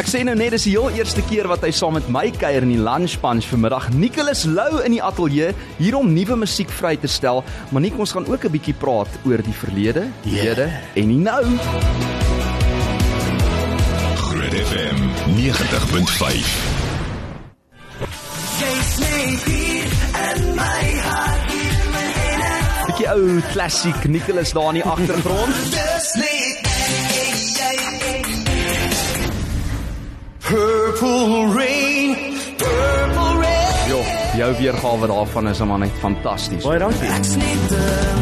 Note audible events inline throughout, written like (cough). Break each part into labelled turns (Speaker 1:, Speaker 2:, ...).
Speaker 1: Ek sê nou net dis die heel eerste keer wat hy saam met my kuier in die Lunch Punch vanmiddag. Nicholas Lou in die ateljee hier om nuwe musiek vry te stel, maar Nick ons gaan ook 'n bietjie praat oor die verlede, die
Speaker 2: Ja.
Speaker 1: hede en die nou.
Speaker 3: Groot FM 90.5.
Speaker 1: Bietjie ou klassiek Nicholas daar in die agtergrond.
Speaker 2: Purple rain, purple rain.
Speaker 1: Jo, jou weergawe daarvan is hom net fantasties.
Speaker 2: Baie dankie.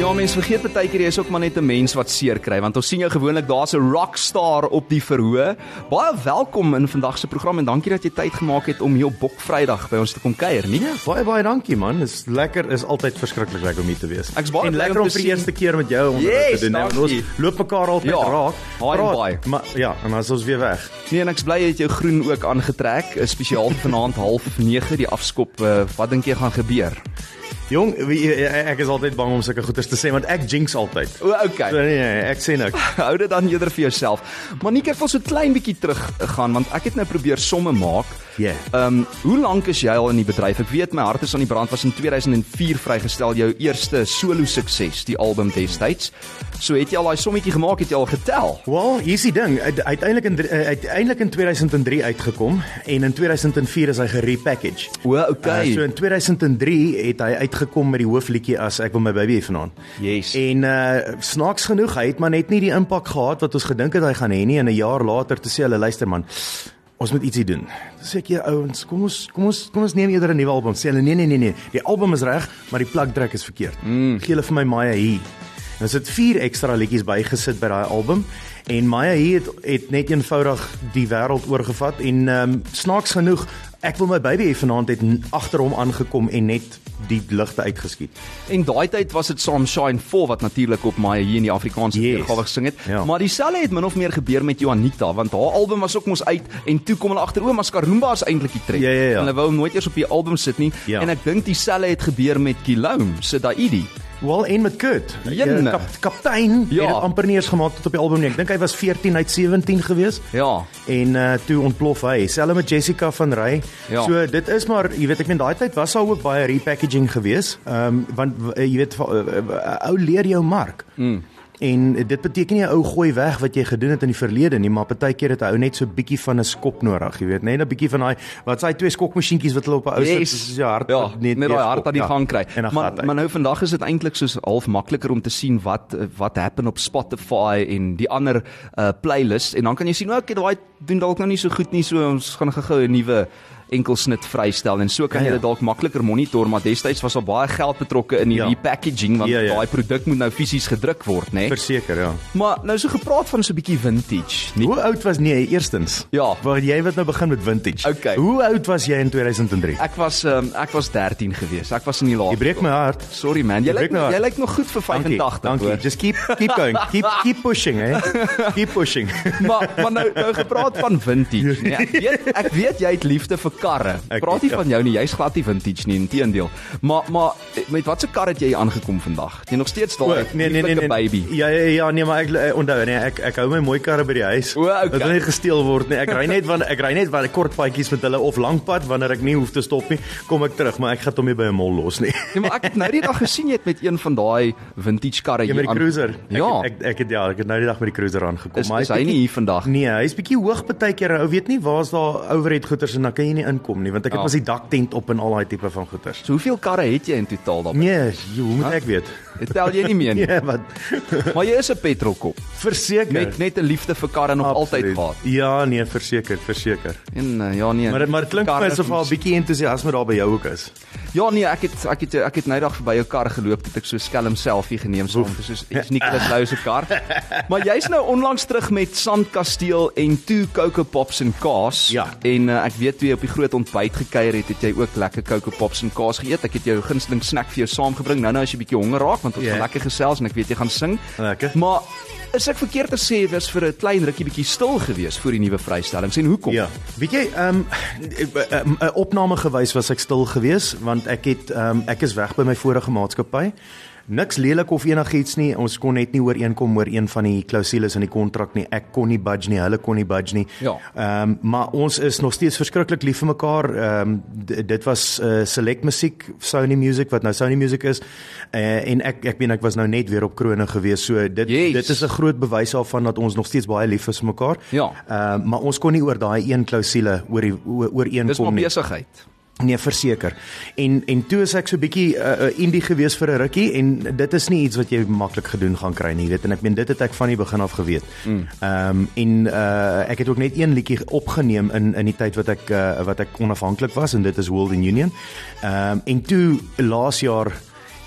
Speaker 1: Ja, mense vergeet baie keer jy is ook maar net 'n mens wat seer kry, want ons sien jou gewoonlik daar's 'n rockstar op die verhoog. Baie welkom in vandag se program en dankie dat jy tyd gemaak het om hier op Bok Vrydag by ons te kom kuier, nie?
Speaker 2: Ja, baie baie dankie man. Dis lekker, is altyd verskriklik lekker om hier te wees.
Speaker 1: Ek's baie
Speaker 2: en
Speaker 1: bly
Speaker 2: lekker
Speaker 1: om
Speaker 2: om
Speaker 1: te
Speaker 2: vir die
Speaker 1: sien-
Speaker 2: eerste keer met jou onder
Speaker 1: Yes,
Speaker 2: te doen. hè, want
Speaker 1: dankie.
Speaker 2: Ons loop mekaar altyd
Speaker 1: Ja,
Speaker 2: raak.
Speaker 1: hi en
Speaker 2: praat,
Speaker 1: bye.
Speaker 2: Maar ja, en dan is ons weer weg.
Speaker 1: Nee, en ek's bly jy het jou groen ook aangetrek, eh, spesiaal vir vanaand 09:30 die afskop. Uh, wat dink jy gaan gebeur?
Speaker 2: Jong, wie- eh, ek is altyd bang om sulke goeters te sê want ek jinx altyd.
Speaker 1: O,
Speaker 2: So,
Speaker 1: okay.
Speaker 2: nee, nee, ek sê niks.
Speaker 1: Hou dit dan eerder vir jouself. Maar nie ek wil so klein bietjie terug eh, gaan want ek het nou probeer somme maak.
Speaker 2: Ja.
Speaker 1: Ehm um, hoe lank is jy al in die bedryf? Ek weet my hart is aan die brand was in 2004 vrygestel jou eerste solo sukses, die album destyds. So het jy al daai sommetjie gemaak, het jy al getel?
Speaker 2: Wel, hier's die ding, uit- uiteindelik in drie- eh, uiteindelik in 2003 uitgekom en in 2004 is hy gerepackage.
Speaker 1: O, okay.
Speaker 2: Uh, so in 2003 het hy uitgekom met die hoofliedjie as ek wil my baby hê vanaand.
Speaker 1: Yes.
Speaker 2: En uh snaaks genoeg, hy het maar net nie die impak gehad wat ons gedink het hy gaan hê nie en 'n jaar later te sê hulle luister man, ons moet ietsie doen. Dis ek jy ouens, kom ons kom ons kom ons neem eerder 'n nuwe album. Sê hulle nee nee nee nee, die album is reg, maar die plakdruk is verkeerd. Mm. Gee hulle vir my Maya hier. En ons het vier ekstra liedjies bygesit by daai album en Maya hier het, het net eenvoudig die wêreld oorgevat en ehm um, snaaks genoeg Ek wil my baby hê vanaand het n- agter hom aangekom en net die ligte uitgeskiet.
Speaker 1: En daai tyd was dit saam Shine 4 wat natuurlik op my hier in die Afrikaanse
Speaker 2: Yes.
Speaker 1: weergawe gesing het.
Speaker 2: Ja.
Speaker 1: Maar dieselfde het min of meer gebeur met Juanita want haar album was ook mos uit en toe kom hulle agter o, Maskarumba is eintlik die trek.
Speaker 2: Ja, ja, ja.
Speaker 1: En hulle wou hom nooit eers op die album sit nie.
Speaker 2: Ja.
Speaker 1: En ek dink dieselfde het gebeur met Kilome, Sidaidi.
Speaker 2: Wel een met Kurt.
Speaker 1: Jene.
Speaker 2: Ja, kap, kaptein
Speaker 1: Ja.
Speaker 2: ja. het dit amper nie eens gemaak tot op die album nie. Ek dink hy was 14 uit 17 gewees.
Speaker 1: Ja.
Speaker 2: En uh toe ontplof hy. Selfs met Jessica van Rey.
Speaker 1: Ja.
Speaker 2: So dit is maar, jy weet, ek meen daai tyd was daar ook baie repackaging gewees. Ehm um, want w- jy weet va- eh, eh, ou leer jou mark. Mm. En dit beteken nie 'n ou gooi weg wat jy gedoen het in die verlede nie, maar partykeer het 'n ou net so bietjie van 'n skop nodig, jy weet, net 'n bietjie van daai wat is daai twee skokmasjienkies wat hulle op 'n ou sit,
Speaker 1: Yes.
Speaker 2: soos jou hart
Speaker 1: ja, net net daai
Speaker 2: weer
Speaker 1: hart
Speaker 2: skop,
Speaker 1: aan die
Speaker 2: ja.
Speaker 1: gang kry.
Speaker 2: En dan
Speaker 1: Maar
Speaker 2: gaat hy.
Speaker 1: maar nou vandag is dit eintlik soos half makliker om te sien wat eh, wat happen op Spotify en die ander uh playlists en dan kan jy sien ook okay, daai doen dalk nou nie so goed nie so ons gaan gou-gou 'n nuwe enkelsnit vrystel en so kan
Speaker 2: Ja,
Speaker 1: jy
Speaker 2: ja.
Speaker 1: dit dalk makliker monitor maar destyds was daar baie geld betrokke in hierdie
Speaker 2: Ja.
Speaker 1: packaging want
Speaker 2: Ja, ja.
Speaker 1: daai produk moet nou fisies gedruk word nê.
Speaker 2: Verseker, ja.
Speaker 1: Maar nou so gepraat van so 'n bietjie vintage. Nie?
Speaker 2: Hoe oud was nee, eerstens?
Speaker 1: Ja.
Speaker 2: Waar jy wat nou begin met vintage.
Speaker 1: Okay.
Speaker 2: Hoe oud was jy in 2003?
Speaker 1: Ek was um, ek was 13 gewees. Ek was in die laag.
Speaker 2: Jy breek my hart.
Speaker 1: Sorry man, jy
Speaker 2: Jy
Speaker 1: lyk
Speaker 2: breek my hart.
Speaker 1: jy lyk nog goed vir 85
Speaker 2: Dankie. Dankie.
Speaker 1: hoor.
Speaker 2: Just keep keep going. Keep keep pushing, hè. Keep pushing.
Speaker 1: maar maar nou nou gepraat van vintage, nee. Ek weet ek weet jy het liefde vir karre.
Speaker 2: Ek-
Speaker 1: Praat nie
Speaker 2: ja.
Speaker 1: van jou nie, jy's glad nie vintage nie, inteendeel. Maar maar met watse kar het jy aangekom vandag? Jy nog steeds daai
Speaker 2: nee,
Speaker 1: lieflike baby.
Speaker 2: Ja ja ja, nee, maar ek eh, onthou nee, ek ek hou my mooi karre by die huis.
Speaker 1: O, okay.
Speaker 2: Dit wil nie gesteel word nie. Ek ry net want ek ry net want kort padjies met hulle of lang pad wanneer ek nie hoef te stop nie, kom ek terug, maar ek gaan hom nie by 'n mol los nie.
Speaker 1: Nee, maar ek het nou die dag gesien jy het met een van daai vintage karre
Speaker 2: Ja, met die
Speaker 1: aan-
Speaker 2: cruiser.
Speaker 1: Ja.
Speaker 2: Ek, ek ek het ja, ek het nou die dag met die cruiser aangekom.
Speaker 1: Is-
Speaker 2: maar
Speaker 1: is hy
Speaker 2: bietjie-
Speaker 1: nie hier vandag nie?
Speaker 2: Nee, hy's bietjie hoog baie keer. Ou weet nie waar's daar overhead goeters en dan kan jy nie inkom nie, want ek
Speaker 1: Ja.
Speaker 2: het mos die daktent op en al daai tipe van goeters.
Speaker 1: So hoeveel karre het jy in totaal dan?
Speaker 2: Nee, jy, hoe moet ek
Speaker 1: (laughs)
Speaker 2: weet?
Speaker 1: Dit tel jy nie meer nie.
Speaker 2: (laughs) Ja, wat
Speaker 1: Maar jy is 'n petrolkop.
Speaker 2: verseker.
Speaker 1: Met net 'n liefde vir karre nog altyd
Speaker 2: Ja. Absoluut.
Speaker 1: gehad.
Speaker 2: Ja, nee, verseker, verseker.
Speaker 1: En uh, ja nee.
Speaker 2: Maar maar dit klink vir my
Speaker 1: karre
Speaker 2: asof
Speaker 1: is
Speaker 2: daar 'n bietjie entoesiasme daar by jou ook is.
Speaker 1: Ja nee, ek het ek het ek het nou dag verby jou kar geloop, het ek so skelm selfie geneem saam vir soos iets Nicholas Lou se
Speaker 2: (laughs)
Speaker 1: kar. Maar jy's nou onlangs terug met Sandkasteel en toe Coco Pops en kaas.
Speaker 2: Ja.
Speaker 1: En uh, ek weet toe jy op die groot ontbyt gekuier het, het jy ook lekker Coco Pops en kaas geëet. Ek het jou gunsteling snack vir jou saamgebring. Nou nou as jy bietjie honger raak want ons
Speaker 2: Ja.
Speaker 1: gaan lekker gesels en ek weet jy gaan sing.
Speaker 2: Lekker.
Speaker 1: Maar is ek verkeerd te sê jy was vir 'n klein rukkie bietjie stil gewees voor die nuwe vrystellings en hoekom?
Speaker 2: Ja. Weet jy, ehm um, opname gewys was ek stil geweest want ek het ehm um, ek is weg by my vorige maatskappy. Niks lelik of enigiets nie. Ons kon net nie ooreenkom oor een van die klousules in die kontrak nie. Ek kon nie budge nie, hulle kon nie budge nie.
Speaker 1: Ja.
Speaker 2: Ehm um, maar ons is nog steeds verskriklik lief vir mekaar. Ehm um, dit was uh, Select Musiek, Sony Music wat nou Sony Music is. Uh, en ek ek meen ek was nou net weer op Krone gewees. So dit
Speaker 1: Jees.
Speaker 2: dit is 'n groot bewys daarvan dat ons nog steeds baie lief is vir mekaar.
Speaker 1: Ja.
Speaker 2: Ehm maar ons kon nie oor daai een klousule oor die oor, oor een
Speaker 1: Dis maar
Speaker 2: kom nie.
Speaker 1: besigheid.
Speaker 2: Nee, verseker. En en toe is ek so bietjie uh, uh, indie gewees vir 'n rukkie en dit is nie iets wat jy maklik gedoen gaan kry nie, jy weet en ek meen dit het ek van die begin af geweet. Ehm mm. um, en uh, ek het ook net een liedjie opgeneem in in die tyd wat ek uh, wat ek onafhanklik was en dit is World in Union. Ehm um, en toe laas jaar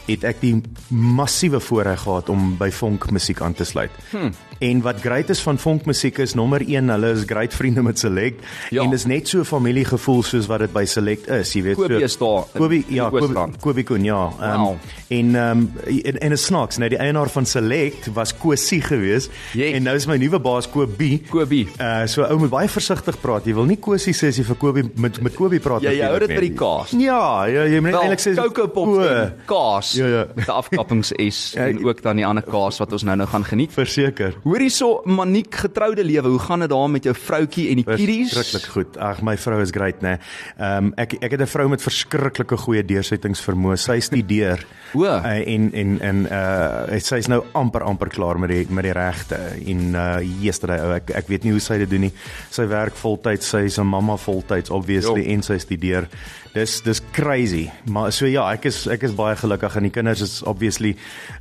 Speaker 2: het ek die massiewe voorreg gehad om by Vonk musiek aan te sluit. Hmm. En wat great is van Vonk musiek is nommer 1, hulle is great vriende met Select
Speaker 1: Ja.
Speaker 2: ja. en dis net so familiegevoel soos wat dit by Select is, jy weet.
Speaker 1: Kobie
Speaker 2: So,
Speaker 1: is daar in-
Speaker 2: Kobie,
Speaker 1: in die
Speaker 2: ja,
Speaker 1: Oosrand.
Speaker 2: Kobie, Kobie Koen, ja. Um,
Speaker 1: Wow.
Speaker 2: wow. En ehm um, en, en 'n snaaks, nou die eienaar van Select was Kosie gewees
Speaker 1: Yes.
Speaker 2: en nou is my nuwe baas Kobie.
Speaker 1: Kobie.
Speaker 2: Uh so ou moet baie versigtig praat. Jy wil nie Kosie sê as jy vir Kobie met met Kobie praat
Speaker 1: Ja, jy
Speaker 2: natuurlik
Speaker 1: hou dit
Speaker 2: nie.
Speaker 1: by die kaas.
Speaker 2: Ja, ja, jy moet
Speaker 1: Wel,
Speaker 2: eintlik sê
Speaker 1: Kokopops en kaas.
Speaker 2: Ja, ja.
Speaker 1: Met 'n afkappings
Speaker 2: (laughs)
Speaker 1: S en
Speaker 2: ek-
Speaker 1: ook dan die ander kaas wat ons nou nou gaan geniet.
Speaker 2: Verseker.
Speaker 1: Hoor hierso Maniek getroude lewe, hoe gaan dit daar met jou vroutjie en die
Speaker 2: Verskriklik
Speaker 1: kiddies?
Speaker 2: goed. Ag my vrou is great, né. Ehm um, ek ek het 'n vrou met verskriklike goeie deursettingsvermoë. Sy studeer.
Speaker 1: O.
Speaker 2: Uh, en en en uh sy's nou amper amper klaar met die met die regte en uh yesterday ou ek ek weet nie hoe sy dit doen nie. Sy werk voltyds, sy's 'n mamma voltyds obviously
Speaker 1: Jo.
Speaker 2: jo. en sy studeer. Dis dis crazy. Maar so ja, ek is ek is baie gelukkig en die kinders is obviously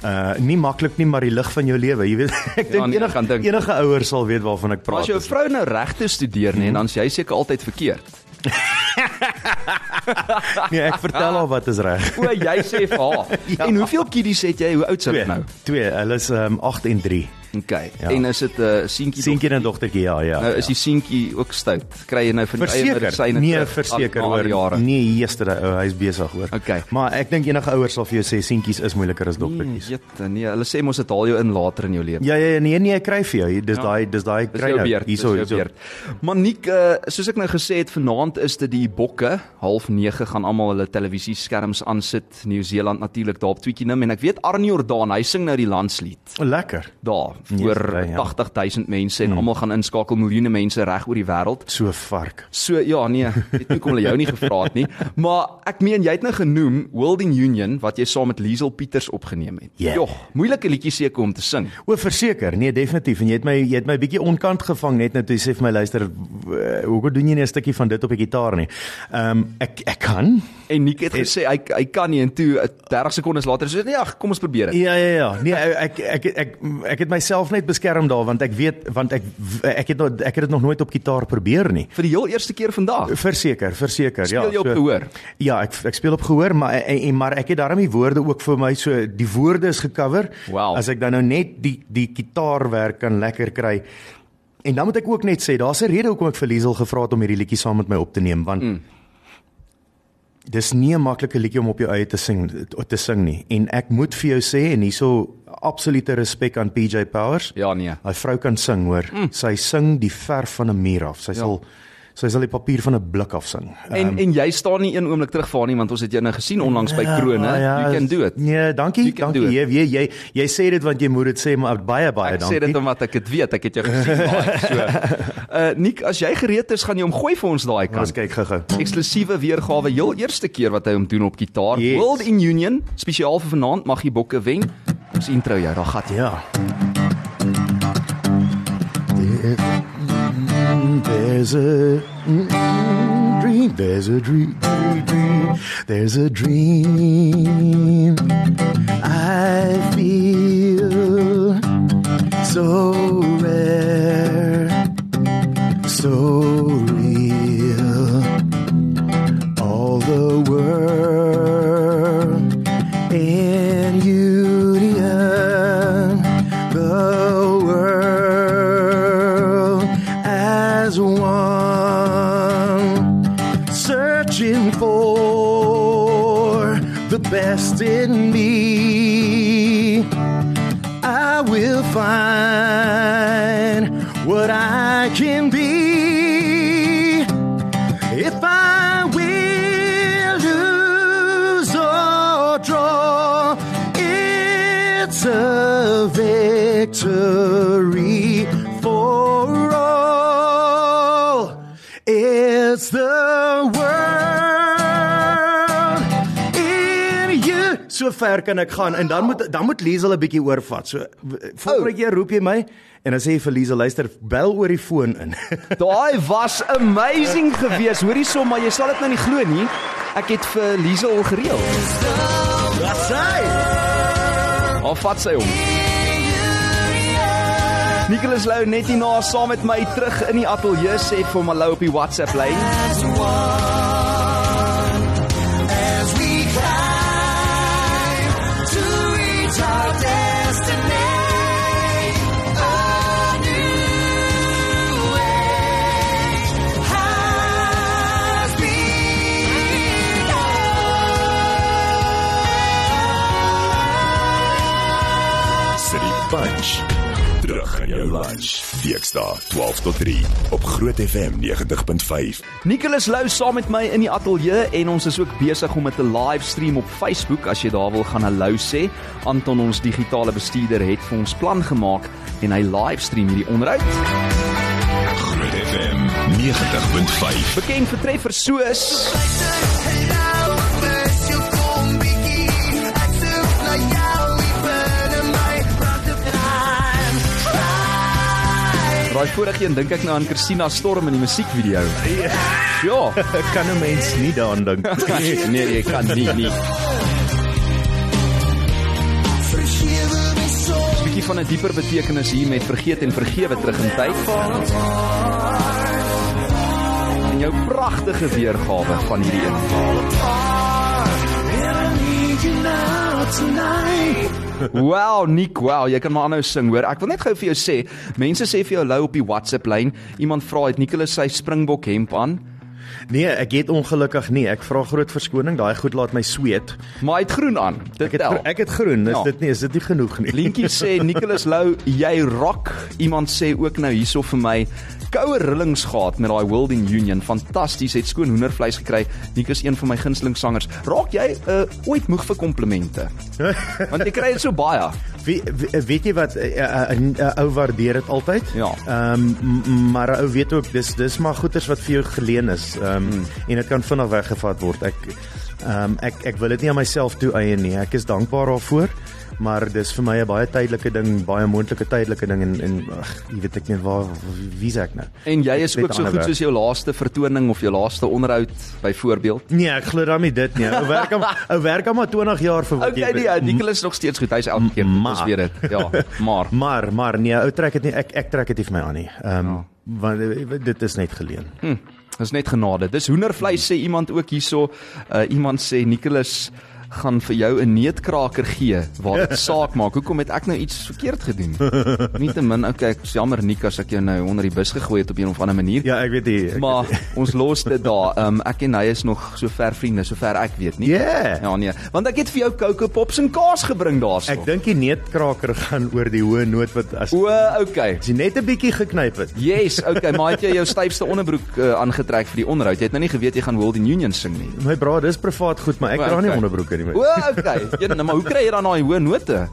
Speaker 2: uh nie maklik nie, maar die lig van jou lewe, jy weet. Ek
Speaker 1: Ja,
Speaker 2: dink
Speaker 1: nee, ek
Speaker 2: enige
Speaker 1: kan dink.
Speaker 2: enige ouer sal weet waarvan ek
Speaker 1: Maar
Speaker 2: praat. Mhm.
Speaker 1: as jou
Speaker 2: Dis-
Speaker 1: vrou nou regte studeer nê, dan is jy seker altyd
Speaker 2: (laughs)
Speaker 1: verkeerd.
Speaker 2: Nee, ek
Speaker 1: Ah.
Speaker 2: vertel haar wat is reg.
Speaker 1: O, jy sê vir (laughs) haar.
Speaker 2: Ja.
Speaker 1: En hoeveel kiddies het jy? Hoe oud is dit nou?
Speaker 2: Twee, hulle is um 8 en 3.
Speaker 1: Okay.
Speaker 2: Ja.
Speaker 1: En is dit 'n uh, seentjie?
Speaker 2: Seentjie en 'n dogtertjie, ja, ja.
Speaker 1: Nou is
Speaker 2: ja.
Speaker 1: die seentjie ook stout. Kry jy nou van die eie medisyne
Speaker 2: verseker. Nee,
Speaker 1: terug,
Speaker 2: verseker
Speaker 1: ag, na al
Speaker 2: hoor.
Speaker 1: die jare.
Speaker 2: Nee, yesterday, ou, hy's besig hoor.
Speaker 1: Okay.
Speaker 2: Maar ek dink enige ouers sal vir jou sê seentjies is moeiliker as dogtertjies.
Speaker 1: Jette, nee, hulle sê mos dit haal jou in later in jou lewe.
Speaker 2: Ja ja nee nee, ek kry vir jou. Hier, Dis daai dis daai
Speaker 1: Hmm. Ja. Dis
Speaker 2: kry
Speaker 1: jou
Speaker 2: nou.
Speaker 1: beurt. Dis jou beurt. Maniek, uh, soos ek nou gesê het, vanaand is dit die bokke. Half 9 gaan almal hulle televisieskerms aansit. Nieu-Seeland natuurlik daar op Twickenham en ek weet Arnie Jordaan, hy sing nou die landslied.
Speaker 2: Lekker.
Speaker 1: Daar
Speaker 2: Yes,
Speaker 1: voor
Speaker 2: ja, Hmm. ja.
Speaker 1: 80000 mense en almal gaan inskakel, miljoene mense reg oor die wêreld.
Speaker 2: So vark.
Speaker 1: So ja, nee, weet nie hoekom hulle jou nie gevra het nie, maar ek meen jy het nou genoem Wilding Union wat jy saam met Liesel Pieters opgeneem het.
Speaker 2: Ja.
Speaker 1: Jog, moeilike liedjie seker om te sing.
Speaker 2: O, verseker. Nee, definitief. En jy het my jy het my bietjie onkant gevang net nou toe jy sê vir my luister, w- hoekom doen jy nie 'n stukkie van dit op die gitaar nie? Ehm um, ek ek kan.
Speaker 1: En Nick het gesê hy hy kan nie en toe eh, 30 sekondes later sê nee, ag, kom ons probeer dit.
Speaker 2: Ja ja ja. Nee, ek ek ek ek, ek het myself net beskerm daar want ek weet want ek ek het nog, ek het dit nog nooit op gitaar probeer nie.
Speaker 1: Vir die heel eerste keer vandag.
Speaker 2: Verseker, verseker, ja.
Speaker 1: Speel jy op gehoor?
Speaker 2: Ja, ek ek speel op gehoor, maar en, en maar ek het daarmee woorde ook vir my so die woorde is gekover.
Speaker 1: Wow.
Speaker 2: As ek dan nou net die die gitaarwerk kan lekker kry. En dan moet ek ook net sê, daar's 'n rede hoekom ek vir Liesel gevra het om hierdie liedjie saam met my op te neem want mm. Dis nie 'n maklike liedjie om op jou eie te sing te sing nie. En ek moet vir jou sê en hierso absolute respek aan PJ Powers.
Speaker 1: Ja nee.
Speaker 2: Hy vrou kan sing hoor. Mm. Sy sing die verf van 'n muur af. Sy ja. sal sy sal die papier van 'n blik af sing.
Speaker 1: En um, en jy staan nie een oomblik terug vir haar nie want ons het jou nou gesien onlangs by Krone. You can do it.
Speaker 2: Ja, Nee, dankie.
Speaker 1: You can
Speaker 2: Dankie.
Speaker 1: do it.
Speaker 2: Jy, jy jy jy sê dit want jy moet dit sê, maar baie baie
Speaker 1: Ek
Speaker 2: dankie.
Speaker 1: sê dit omdat ek dit weet, ek het jou gesien daai.
Speaker 2: (laughs)
Speaker 1: So, uh Nick, as jy gereed is, gaan jy hom gooi vir ons daai
Speaker 2: Ons
Speaker 1: kant.
Speaker 2: kyk gou-gou.
Speaker 1: Eksklusiewe weergawe heel eerste keer wat hy hom doen op gitaar.
Speaker 2: Yes.
Speaker 1: World in Union, spesiaal vir vanaand mag jy bokke wen. Ons intro jou, daar gaan jy.
Speaker 2: Ja. There- There's a mm, dream, there's a dream, dream, dream. there's a dream I feel so rare, so real. All the world in union, the world as one, searching for the best in me. I will find what I can be if I will lose or draw. It a victory for all. It's the world in you. So ver kan ek gaan en dan moet dan moet Liesel 'n bietjie oorvat. So w- volgende keer roep jy my en dan sê jy vir Liesel luister, bel oor die foon in. (laughs)
Speaker 1: Daai was amazing geweest. Hoorie som, maar jy sal dit nou nie glo nie. Ek het vir Liesel gereël.
Speaker 2: Wat sê?
Speaker 1: Haar vat sy hom. Nicholas Lou net hierna saam met my terug in die ateljee sê vir my Lou op die WhatsApp lyn.
Speaker 3: City Punch. Terug in jou lunch. Dinsdae 12 tot 3 op Groot FM 90.5.
Speaker 1: Nicholas Lou saam met my in die ateljee en ons is ook besig om met 'n livestream op Facebook as jy daar wil gaan hallo sê. Anton ons digitale bestuurder het vir ons plan gemaak en hy livestream hierdie onderhoud.
Speaker 3: Groot FM 90.5.
Speaker 1: Bekend vir treffers soos Daai vorige een dink ek nou aan Christina Storm in die musiekvideo. Ja.
Speaker 2: Ek kan 'n mens nie daaraan dink.
Speaker 1: nee, jy kan nie nie. Bietjie van 'n dieper betekenis hier met vergeet en vergewe terug in tyd. En jou pragtige weergawe van hierdie een. Wow, Nick, wow, jy kan maar aanhou sing hoor. Ek wil net gou vir jou sê, mense sê vir jou lou op die WhatsApp lyn, iemand vra het Nicholas sy Springbok hemp aan,
Speaker 2: Nee, ek het ongelukkig nie. Ek vra groot verskoning. Daai goed laat my sweet.
Speaker 1: maar hy het groen aan. Dit
Speaker 2: Ek het
Speaker 1: tel.
Speaker 2: ek het groen. Is
Speaker 1: Ja.
Speaker 2: dit nie is dit nie genoeg nie?
Speaker 1: Lientjie sê Nicholas Lou, jy rock. Iemand sê ook nou hierso vir my koue rillings gehad met daai Wilding Union. Fantasties, het skoon hoendervleis gekry. Nick is een van my gunsteling sangers. Raak jy uh, ooit moeg vir
Speaker 2: (laughs)
Speaker 1: komplimente? Want jy kry dit so baie.
Speaker 2: Wie, wie- weet jy wat 'n uh, uh, uh, ou waardeer dit altyd?
Speaker 1: Ja.
Speaker 2: Ehm m- m- maar 'n ou weet ook dis dis maar goeders wat vir jou geleen is. Ehm
Speaker 1: Hmm.
Speaker 2: um, en dit kan vinnig weggevat word. Ek ehm um, ek ek wil dit nie aan myself toe eie nie. Ek is dankbaar daarvoor, maar dis vir my 'n baie tydelike ding, baie moontlike tydelike ding en en ag, jy weet ek net waar wie sê ek nou?
Speaker 1: En jy
Speaker 2: Ek
Speaker 1: is
Speaker 2: weet
Speaker 1: ook so
Speaker 2: ander
Speaker 1: goed
Speaker 2: werk.
Speaker 1: soos jou laaste vertoning of jou laaste onderhoud byvoorbeeld.
Speaker 2: Nee, ek glo dan nie dit nie. Ou werk
Speaker 1: (laughs)
Speaker 2: aan ou werk aan maar 20 jaar vir wat
Speaker 1: Okay, nee, uh, Nicholas is nog steeds goed. Hy's elke keer goed, ons
Speaker 2: Maar.
Speaker 1: weet dit. Ja,
Speaker 2: (laughs)
Speaker 1: maar
Speaker 2: Maar maar nee, ou trek dit nie ek ek trek dit nie vir my aan nie. Ehm um, want eh, dit is net geleen.
Speaker 1: Hm. Dis net genade. Dis hoendervleis sê iemand ook hierso. Uh iemand sê Nicholas gaan vir jou 'n neetkraker gee waar
Speaker 2: (laughs)
Speaker 1: dit saak maak. Hoekom het ek nou iets verkeerd gedoen? Nietemin, okay, ek is jammer Nik as ek jou nou onder die bus gegooi het op 'n of ander manier.
Speaker 2: Ja, ek weet nie. Ek,
Speaker 1: (laughs) Maar
Speaker 2: (laughs)
Speaker 1: ons los dit daar. Ehm um, ek en hy is nog so ver vriende, sover ek weet nie.
Speaker 2: Ja.
Speaker 1: Ja nee, want ek het vir jou Coco Pops en kaas gebring daarso.
Speaker 2: ek dink die neetkraker gaan oor die hoë noot wat as
Speaker 1: O, okay.
Speaker 2: as jy net 'n bietjie geknyp het.
Speaker 1: Yes, okay, maar het jy jou styfste onderbroek uh, aangetrek vir die onderhoud? Jy het nou nie geweet jy gaan World Union sing nie.
Speaker 2: My bra, dis privaat goed, maar ek
Speaker 1: O,
Speaker 2: dra nie
Speaker 1: okay.
Speaker 2: onderbroeke nie.
Speaker 1: O,
Speaker 2: my.
Speaker 1: okay. Ja, nou, maar hoe kry jy dan daai hoë note?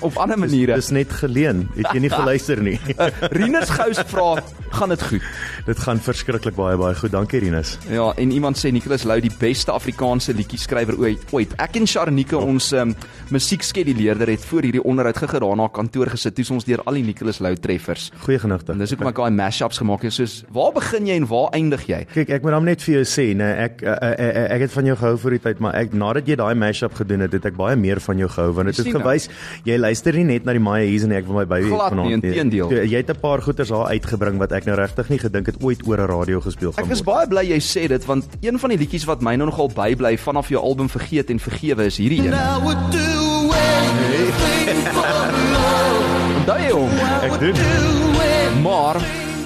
Speaker 1: Op ander maniere.
Speaker 2: Dis net geleen. Het
Speaker 1: (laughs)
Speaker 2: jy nie geluister nie.
Speaker 1: Uh, Rinus Gous vra, gaan dit goed?
Speaker 2: Dit gaan verskriklik baie baie goed. Dankie Rinus.
Speaker 1: Ja, en iemand sê Nicholas Lou die beste Afrikaanse liedjie-skrywer ooit. ooit. Ek en
Speaker 2: Ja.
Speaker 1: Sharnike ons um, musiekskeduleerder het voor hierdie onderhoud gegaan na haar kantoor gesit. Toe is ons deur al die Nicholas Lou treffers.
Speaker 2: Goeie genigte.
Speaker 1: En dis hoekom ek daai mashups gemaak het soos waar begin jy en waar eindig jy?
Speaker 2: Kyk, ek moet hom net vir jou sê, nee, ek eh, eh, eh, ek het van jou gehou vir die tyd, maar ek nadat jy daai mashup gedoen het, het ek baie meer van jou gehou want dit
Speaker 1: Jy
Speaker 2: het
Speaker 1: sien nou.
Speaker 2: gewys jy luister nie net na die Maya hier en ek wil my baby
Speaker 1: Glad nie, inteendeel.
Speaker 2: Jy het 'n paar goeters daar uitgebring wat ek nou regtig nie gedink het ooit oor 'n radio gespeel gaan
Speaker 1: Ek is
Speaker 2: word.
Speaker 1: baie bly jy sê dit want een van die liedjies wat my nou nogal bybly vanaf jou album Vergeet en Vergewe is hierdie
Speaker 4: Nee.
Speaker 1: een. Onthou jy hom?
Speaker 2: Ek doen.
Speaker 1: Maar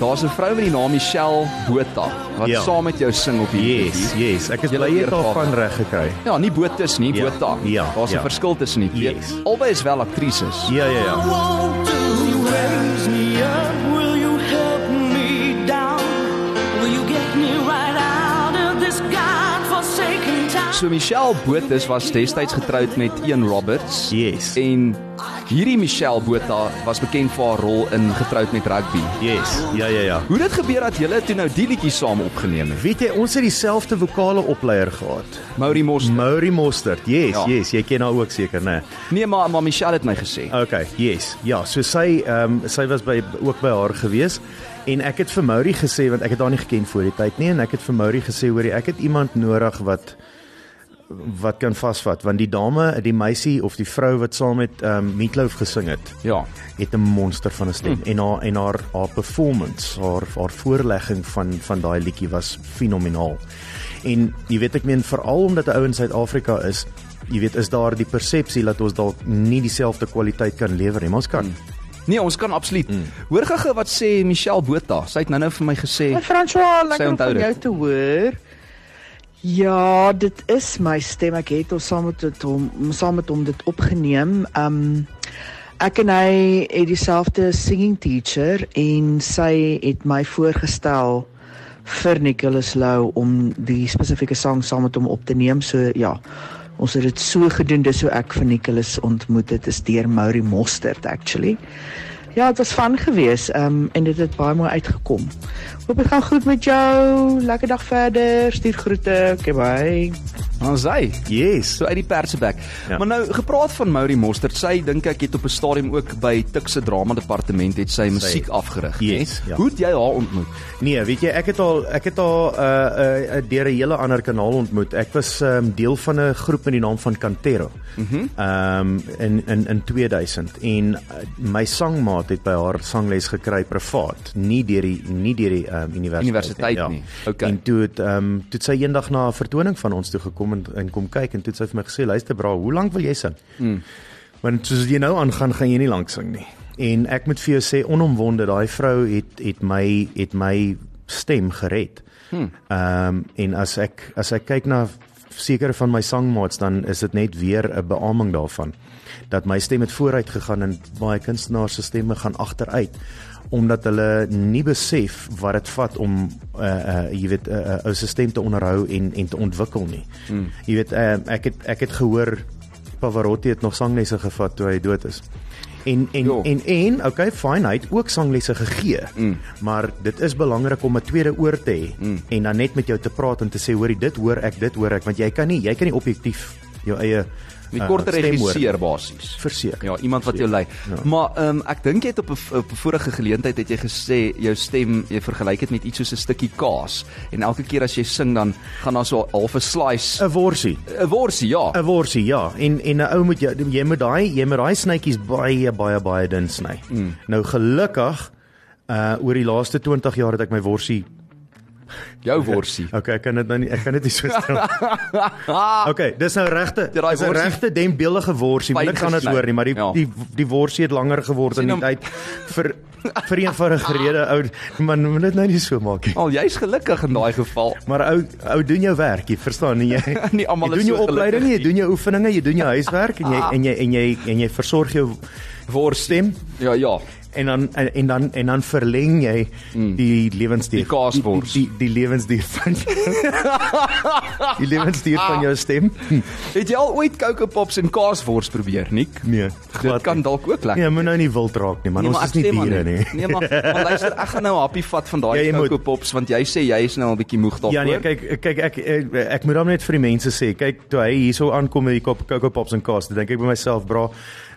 Speaker 1: daar's 'n vrou met die naam Michelle Botha wat ja.
Speaker 2: Ja.
Speaker 1: saam met jou sing op hierdie
Speaker 2: Yes,
Speaker 1: liedjie.
Speaker 2: yes. Ek is
Speaker 1: Julle
Speaker 2: bly jy het
Speaker 1: weergawe.
Speaker 2: daarvan reg gekry.
Speaker 1: Ja, nie Botha is nie,
Speaker 2: Ja,
Speaker 1: Botha.
Speaker 2: ja,
Speaker 1: daar's 'n
Speaker 2: ja.
Speaker 1: verskil tussen die twee.
Speaker 2: Yes.
Speaker 1: Albei is wel aktrises.
Speaker 2: Ja, ja, ja.
Speaker 1: So Michelle Botha was destyds getroud met Ian Roberts
Speaker 2: Yes.
Speaker 1: en Hierdie Michelle Botha was bekend vir haar rol in Getroud met Rugby.
Speaker 2: Yes. Ja ja ja.
Speaker 1: Hoe dit gebeur dat julle toe nou die liedjie saam opgeneem het?
Speaker 2: Weet jy, ons het dieselfde vokale opleier gehad.
Speaker 1: Maurie Mos.
Speaker 2: Maury Mostert. Yes,
Speaker 1: Ja.
Speaker 2: ja. yes, jy ken haar ook seker, né? Nee.
Speaker 1: Nee, maar maar Michelle het my gesê.
Speaker 2: Okay, yes. Ja, so sy ehm um, sy was by ook by haar gewees en ek het vir Mourie gesê want ek het haar nie geken voor die tyd nie en ek het vir Mourie gesê hoorie ek het iemand nodig wat wat kan vasvat want die dame, die meisie of die vrou wat saam met ehm um, Meatloaf gesing het,
Speaker 1: Ja.
Speaker 2: het 'n monster van 'n stem mm. en haar en haar haar performance, haar haar voorlegging van van daai liedjie was fenomenaal. En jy weet ek meen veral omdat 'n ou in Suid-Afrika is, jy weet is daar die persepsie dat ons dalk nie dieselfde kwaliteit kan lewer nie, maar ons kan. Mm.
Speaker 1: Nee, ons kan absoluut. Mm. Hoor gaga wat sê Michelle Botha. Sy het nou-nou vir my gesê.
Speaker 5: Maar François, lekker om
Speaker 1: onthou
Speaker 5: van
Speaker 1: dit.
Speaker 5: jou te hoor. Ja, dit is my stem. Ek het ons saam met dit hom saam met hom dit opgeneem. Um ek en hy het dieselfde singing teacher en sy het my voorgestel vir Nicholas Lou om die spesifieke sang saam met hom op te neem. So ja, ons het dit so gedoen dis hoe ek vir Nicholas ontmoet het is deur Maurie Mostert actually. Ja, dit was van gewees. Ehm um, en dit het baie mooi uitgekom. Hoop dit gaan goed met jou. Lekker dag verder. Stuur groete. Okay, bye.
Speaker 1: Dan sy.
Speaker 2: Yes.
Speaker 1: So uit die persebek. Ja.
Speaker 2: Ja.
Speaker 1: Maar nou gepraat van Maurie Mostert, sy dink ek het op 'n stadium ook by Tik se drama departement het sy musiek afgerig, né?
Speaker 2: Yes, ja.
Speaker 1: Hoe het jy haar ontmoet?
Speaker 2: Nee, weet jy, ek het al ek het al uh uh uh, deur 'n hele ander kanaal ontmoet. Ek was um, deel van 'n groep met die naam van Cantero. Mhm. Mm um in in in 2000 en uh, my sangmaat het by haar sangles gekry privaat, nie deur die nie deur die um universiteit,
Speaker 1: Universiteit nie. OK.
Speaker 2: En toe het ehm um, toe het sy eendag na 'n vertoning van ons toe gekom en, en kom kyk en toe het sy vir my gesê, "Luister bra, hoe lank wil jy sing?"
Speaker 1: Hmm.
Speaker 2: Mm. Want soos jy nou aangaan, gaan jy nie lank sing nie. En ek moet vir jou sê onomwonde, daai vrou het het my het my stem gered. Ehm um, en as ek as ek kyk na sekere van my sangmaats dan is dit net weer 'n beaming daarvan dat my stem het vooruit gegaan en baie kunstenaars se stemme gaan agteruit omdat hulle nie besef wat dit vat om uh uh jy weet 'n uh, uh, ou se stem te onderhou en en te ontwikkel nie. Mm. Jy weet uh, ek het ek het gehoor Pavarotti het nog sanglesse gevat toe hy dood is. En en
Speaker 1: Jo.
Speaker 2: jo. en en okay, fine, hy het ook sanglesse gegee. Mm. Maar dit is belangrik om 'n tweede oor te hê mm. en dan net met jou te praat en te sê hoorie dit hoor ek, dit hoor ek want jy kan nie jy kan nie objektief jou eie
Speaker 1: Met
Speaker 2: eh,
Speaker 1: korter
Speaker 2: stem hoor.
Speaker 1: regisseur basies.
Speaker 2: Verseker.
Speaker 1: Ja, iemand wat jou lei.
Speaker 2: Ja.
Speaker 1: Maar ehm um, ek dink jy het op 'n v- op 'n vorige geleentheid het jy gesê jou stem jy vergelyk dit met iets soos 'n stukkie kaas en elke keer as jy sing dan gaan daar so 'n halfe slice
Speaker 2: 'n worsie.
Speaker 1: 'n worsie, ja.
Speaker 2: 'n worsie, ja. En en 'n ou moet jy jy moet daai jy moet daai snytjies baie baie baie dun sny. Mm. Nou gelukkig uh oor die laaste 20 jaar het ek my worsie
Speaker 1: Jou worsie.
Speaker 2: Okay, ek kan dit nou nie ek kan dit nie
Speaker 1: (laughs)
Speaker 2: so stel. okay, dis nou regte.
Speaker 1: Dit daai
Speaker 2: Dis 'n
Speaker 1: worsie-
Speaker 2: regte denbeelige worsie.
Speaker 1: Fyn
Speaker 2: Moeilik gaan dit
Speaker 1: gesny.
Speaker 2: hoor nie, maar die
Speaker 1: Ja.
Speaker 2: die die worsie het langer geword in
Speaker 1: Sien
Speaker 2: die tyd vir vir eenvoudige rede ou man moet dit nou nie so maak nie.
Speaker 1: Al jy's gelukkig in daai geval.
Speaker 2: Maar ou ou doen jou werk, jy
Speaker 1: (laughs)
Speaker 2: verstaan nie jy.
Speaker 1: Nie almal
Speaker 2: jy
Speaker 1: is
Speaker 2: doen jou
Speaker 1: so
Speaker 2: opleiding,
Speaker 1: gelukkig Ah.
Speaker 2: jy doen jou oefeninge, jy doen jou huiswerk en jy en jy en jy en jy versorg jou
Speaker 1: Worsie.
Speaker 2: stem
Speaker 1: Ja, ja.
Speaker 2: en dan en, en dan en dan verleng jy die lewensduur
Speaker 1: Hmm. Die kaaswors.
Speaker 2: die, die, die lewensduur van (laughs) die lewensduur van jou stem (laughs)
Speaker 1: Het jy al ooit koukepops en kaaswors probeer, Nik?
Speaker 2: nee
Speaker 1: Dit kan dalk ook lekker.
Speaker 2: nee moet nou nie wild raak nie man nee, ons
Speaker 1: maar
Speaker 2: is
Speaker 1: ek
Speaker 2: nie
Speaker 1: stem aan
Speaker 2: diere nie
Speaker 1: (laughs) Nee, maar,
Speaker 2: (laughs)
Speaker 1: maar luister, ek gaan nou 'n happie vat van daai
Speaker 2: Ja, jy moet.
Speaker 1: koukepops want jy sê jy is nou al 'n bietjie moeg daarvoor.
Speaker 2: Ja nee, kyk kyk ek ek, ek moet hom net vir die mense sê. Kyk, toe hy hierso aankom met die kop Coco Pops en kaas, dan dink ek by myself, bra,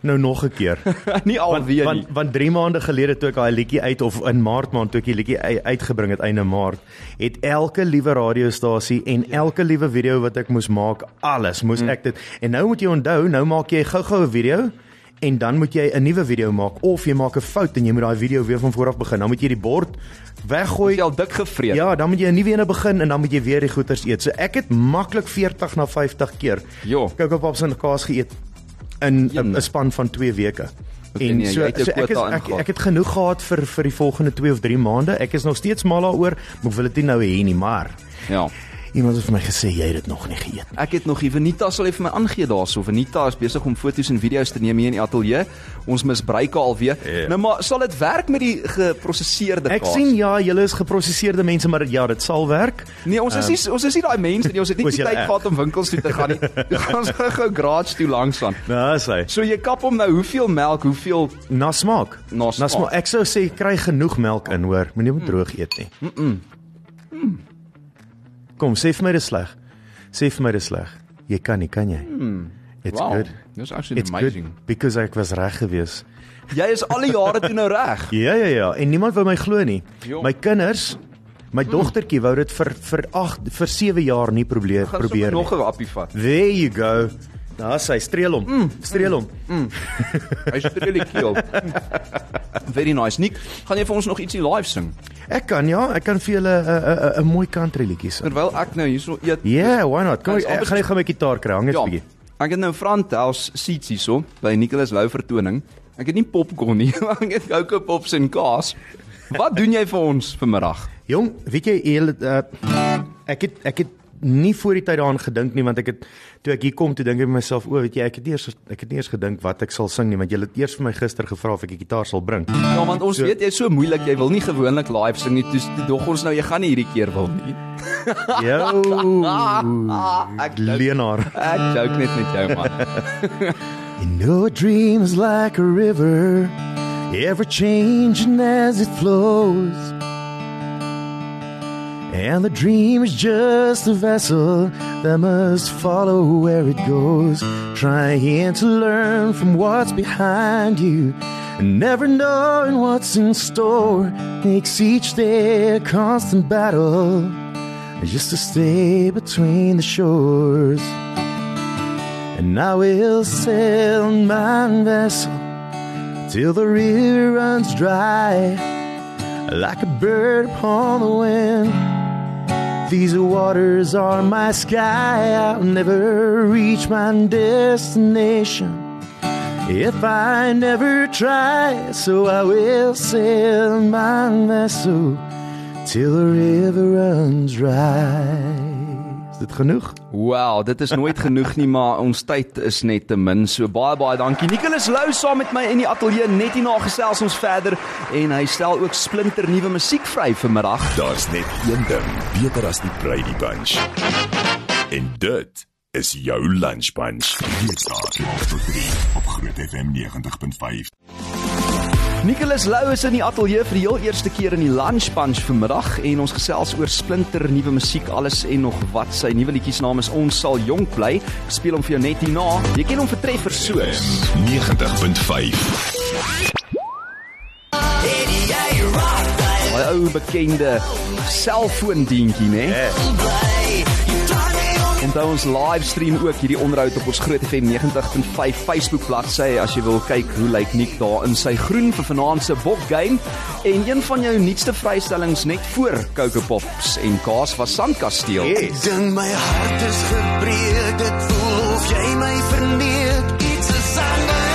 Speaker 2: nou nog 'n keer.
Speaker 1: (laughs) nie alweer nie.
Speaker 2: want want 3 maande gelede toe ek daai liedjie uit of in Maart maand toe ek die liedjie ui- uitgebring het einde Maart, het elke liewe radiostasie en
Speaker 1: Ja.
Speaker 2: elke liewe video wat ek moes maak, alles
Speaker 1: Hm.
Speaker 2: moes ek dit. En nou moet jy onthou, nou maak jy gou-gou 'n video en dan moet jy 'n nuwe video maak of jy maak 'n fout en jy moet daai video weer van voor af begin. Dan moet jy die bord weggooi.
Speaker 1: Jy al dik gevreet.
Speaker 2: Ja, dan moet jy 'n nuwe een begin en dan moet jy weer die goeters eet. So ek het maklik 40 na 50 keer
Speaker 1: Jo.
Speaker 2: Coco Pops en kaas geëet in 'n
Speaker 1: Jene.
Speaker 2: 'n span van 2 weke.
Speaker 1: Oké, nee, jy het jou
Speaker 2: ek is
Speaker 1: quota
Speaker 2: ek,
Speaker 1: ingehaal.
Speaker 2: ek het genoeg gehad vir vir die volgende 2 of 3 maande. Ek is nog steeds mal daaroor, maar ek wil dit nie nou hê nie, maar
Speaker 1: Ja.
Speaker 2: Iemand het vir my gesê jy het dit nog nie geëet nie.
Speaker 1: Ek het nog hier Venita sal effe my aangee daarso. Venita is besig om foto's en video's te neem hier in die ateljee. Ons misbruik haar alweer.
Speaker 2: Ja.
Speaker 1: Nou maar sal dit werk met die geprosesseerde
Speaker 2: Ek
Speaker 1: kaas?
Speaker 2: sien ja, julle is geprosesseerde mense, maar ja, dit sal werk.
Speaker 1: Nee,
Speaker 2: Ehm.
Speaker 1: ons is nie, ons is nie daai mense nie. Ons het nie
Speaker 2: Was
Speaker 1: die
Speaker 2: jy
Speaker 1: tyd
Speaker 2: erg?
Speaker 1: gehad om winkels toe te gaan
Speaker 2: (laughs)
Speaker 1: nie. Ons gaan gou garage toe langs gaan.
Speaker 2: Nou, sê.
Speaker 1: So jy kap hom nou hoeveel melk, hoeveel
Speaker 2: Na smaak.
Speaker 1: Na smaak.
Speaker 2: Ek sou sê kry genoeg melk in, hoor. Moenie hom droog eet nie. Mm. Kom, sê vir my dis sleg. Sê vir my dis sleg. Jy kan nie, kan jy? Mm. It's
Speaker 1: Wow,
Speaker 2: good.
Speaker 1: dis actually
Speaker 2: It's
Speaker 1: amazing.
Speaker 2: good because ek was reg geweest.
Speaker 1: Good. Jy is al die jare toe nou reg.
Speaker 2: Ja ja ja, en niemand wou my glo nie.
Speaker 1: Jo. Mm.
Speaker 2: My kinders, my dogtertjie wou dit vir vir 8 vir 7 jaar nie probeer
Speaker 1: Gaan
Speaker 2: probeer
Speaker 1: sommer
Speaker 2: nie.
Speaker 1: nog 'n appie vat.
Speaker 2: There you go. Daar sy streel hom. Mm, streel hom. Mm,
Speaker 1: Hy's really cool. (laughs) Very nice. Nick, gaan jy vir ons nog ietsie live sing?
Speaker 2: Ek kan ja, ek kan vir julle 'n- 'n 'n- 'n mooi country liedjie sing.
Speaker 1: Terwyl ek nou hierso eet.
Speaker 2: Yeah, Ja, why not? Kom,
Speaker 1: Ons
Speaker 2: ek ek gaan net gou my gitaar kry, hang net 'n
Speaker 1: Ja.
Speaker 2: bietjie.
Speaker 1: Ek het nou Frantels seats hierso by Nicholas Lou vertoning. Ek het nie popcorn nie, (laughs) maar ek het goue pops en kaas. Wat doen jy vir ons vanmiddag?
Speaker 2: Jong, weet jy heel, uh, ek het ek het nie voor die tyd daaraan gedink nie want ek het toe ek hier kom toe dink ek vir myself o, weet jy, ek het nie eers ek het nie eers gedink wat ek sal sing nie want jy het eers vir my gister gevra of ek 'n gitaar sal bring.
Speaker 1: Ja, want ons so, weet jy's so moeilik, jy wil nie gewoonlik live sing nie. Dis dog ons nou jy gaan nie hierdie keer wil nie.
Speaker 2: Jo.
Speaker 1: ek
Speaker 2: Lenaar.
Speaker 1: Ek joke net met jou man.
Speaker 2: You know a dream is like a river, ever changing as it flows. And the dream is just a vessel that must follow where it goes, trying to learn from what's behind you. And never knowing what's in store makes each day a constant battle just to stay between the shores. And I will sail my vessel till the river runs dry, like a bird upon the wind. These waters are my sky. I'll never reach my destination if I never try. So I will sail my vessel till the river runs dry. Is dit genoeg?
Speaker 1: Wow, dit is nooit genoeg nie, maar ons tyd is net te min. So baie baie dankie. Nicholas Lou saam met my in die ateljee net hierna gesels ons verder en hy stel ook splinter nuwe musiek vry vanmiddag.
Speaker 3: (laughs) Daar's net een ding beter as die Brady Bunch. En dit is jou lunch bunch. Hier staan tot 3 op Groot FM 90.5.
Speaker 1: Nicholas Lou is in die ateljee vir die heel eerste keer in die Lunch Punch vanmiddag en ons gesels oor splinter nuwe musiek, alles en nog wat. Sy nuwe liedjie se naam is Ons sal jonk bly. Ek Speel hom vir jou net hierna. Jy ken hom vir treffers soos
Speaker 3: 90.5.
Speaker 1: daai ou bekende selfoondientjie, né? Onthou ons livestream ook hierdie onderhoud op ons Groot FM 90.5 Facebook bladsy as jy wil kyk hoe lyk Nick daar in sy groen vir vanaand se bok game en een van jou nuutste vrystellings net voor Coco Pops en Kaas was Sandkasteel.
Speaker 4: Ek dink my hart is gebreek, dit voel of jy my verneek. Iets is anders.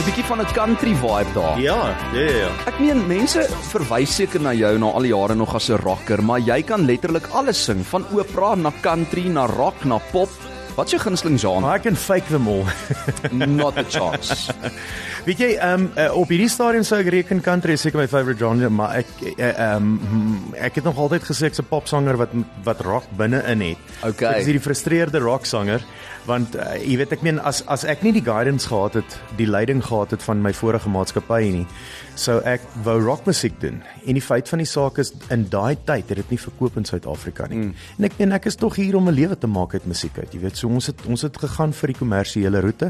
Speaker 1: 'n Bietjie van 'n country vibe daar.
Speaker 2: Ja, ja ja ja.
Speaker 1: Ek meen mense verwys seker na jou na al die jare nog as 'n rocker, maar jy kan letterlik alles sing, van opera na country na rock na pop. Wat is jou gunsteling genre?
Speaker 2: Maar ek kan fake them all. (laughs)
Speaker 1: Not a chance.
Speaker 2: Weet jy, ehm um, uh, op hierdie stadium sou ek reken country is seker my favourite genre, maar ek eh, ehm uh, um, ek het nog altyd gesê ek's 'n popsanger wat wat rock binne-in het.
Speaker 1: Okay.
Speaker 2: So ek is hierdie frustreerde rocksanger want uh, jy weet ek meen as as ek nie die guidance gehad het, die leiding gehad het van my vorige maatskappy nie, sou ek wou rockmusiek doen. En die feit van die saak is in daai tyd het dit nie verkoop in Suid-Afrika nie. Mm. En ek meen ek is tog hier om 'n lewe te maak uit musiek uit. Jy weet, so ons het ons het gegaan vir die kommersiële roete,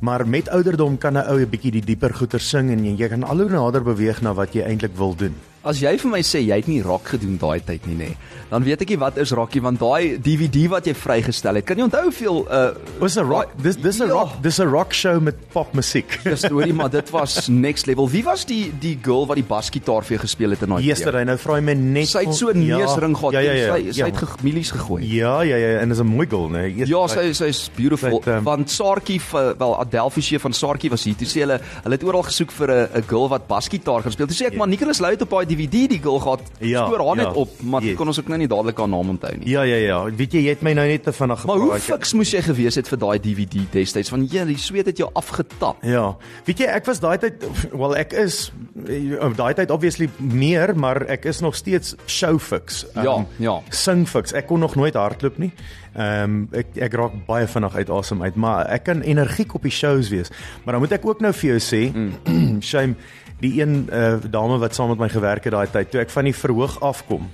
Speaker 2: maar met ouderdom kan 'n ou 'n bietjie die dieper goeter sing en jy, jy kan al hoe nader beweeg na wat jy eintlik wil doen.
Speaker 1: As jy vir my sê jy het nie rock gedoen daai tyd nie nê, nee, dan weet ek nie wat is rockie want daai DVD wat jy vrygestel het, kan jy onthou hoeveel uh
Speaker 2: Dis 'n rock dis dis 'n
Speaker 1: Ja.
Speaker 2: rock dis 'n rock show met popmusiek.
Speaker 1: dis hoorie maar dit was next level. Wie was die die girl wat die basgitaar vir jou gespeel het in daai video?
Speaker 2: Yesterday nou vra jy my net
Speaker 1: Sy het so 'n
Speaker 2: Ja,
Speaker 1: neusring gehad.
Speaker 2: Ja ja ja.
Speaker 1: sy sy
Speaker 2: ja,
Speaker 1: het ge- mielies gegooi.
Speaker 2: ja ja ja en dis 'n mooi girl, né? Yes,
Speaker 1: Ja, sy sy's beautiful.
Speaker 2: Sy het, ehm,
Speaker 1: Want Saartjie vir- wel Adelphie van Saartjie was hier. Toe sê hulle hulle het oral gesoek vir 'n 'n girl wat basgitaar gaan speel. Toe sê ek maar Nicholas Lou het op daai DVD deal gehad.
Speaker 2: Ja,
Speaker 1: Spoor haar
Speaker 2: ja.
Speaker 1: net op, maar
Speaker 2: Yes.
Speaker 1: yes. kon ons ook nou nie dadelik haar naam onthou nie.
Speaker 2: Ja ja ja, weet jy jy het my nou net te vinnig
Speaker 1: Maar hoe
Speaker 2: gepraat.
Speaker 1: fiks moes jy gewees het vir daai DVD destyds van jy die sweet het jou afgetap.
Speaker 2: Ja. Weet jy, ek was daai tyd wel ek is eh, op daai tyd obviously meer, maar ek is nog steeds showfix.
Speaker 1: Ja, ja.
Speaker 2: Singfix. Ehm, Ek kon nog nooit hardloop nie. Ehm um, ek ek raak baie vinnig uit asem uit, maar ek kan energiek op die shows wees. Maar dan moet ek ook nou vir jou sê, mm. (clears throat) shame die een uh, dame wat saam met my gewerk het daai tyd, toe ek van die verhoog afkom,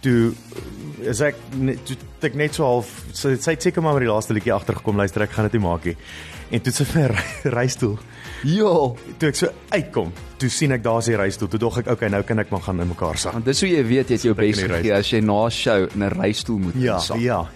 Speaker 2: toe eh, is ek net toe het ek net so half so sy het seker maar met die laaste liedjie agtergekom luister ek gaan dit nie maak nie. En toe het sy (laughs) vir 'n reistoel.
Speaker 1: Ja,
Speaker 2: Toe ek so uitkom, toe sien ek daar's die reistoel. Toe dog ek okay, nou kan ek maar gaan in mekaar sak.
Speaker 1: want dis hoe jy weet jy het jou
Speaker 2: in
Speaker 1: bes
Speaker 2: die
Speaker 1: gegee as jy na 'n show in 'n reistool moet
Speaker 2: Ja,
Speaker 1: insak.
Speaker 2: ja.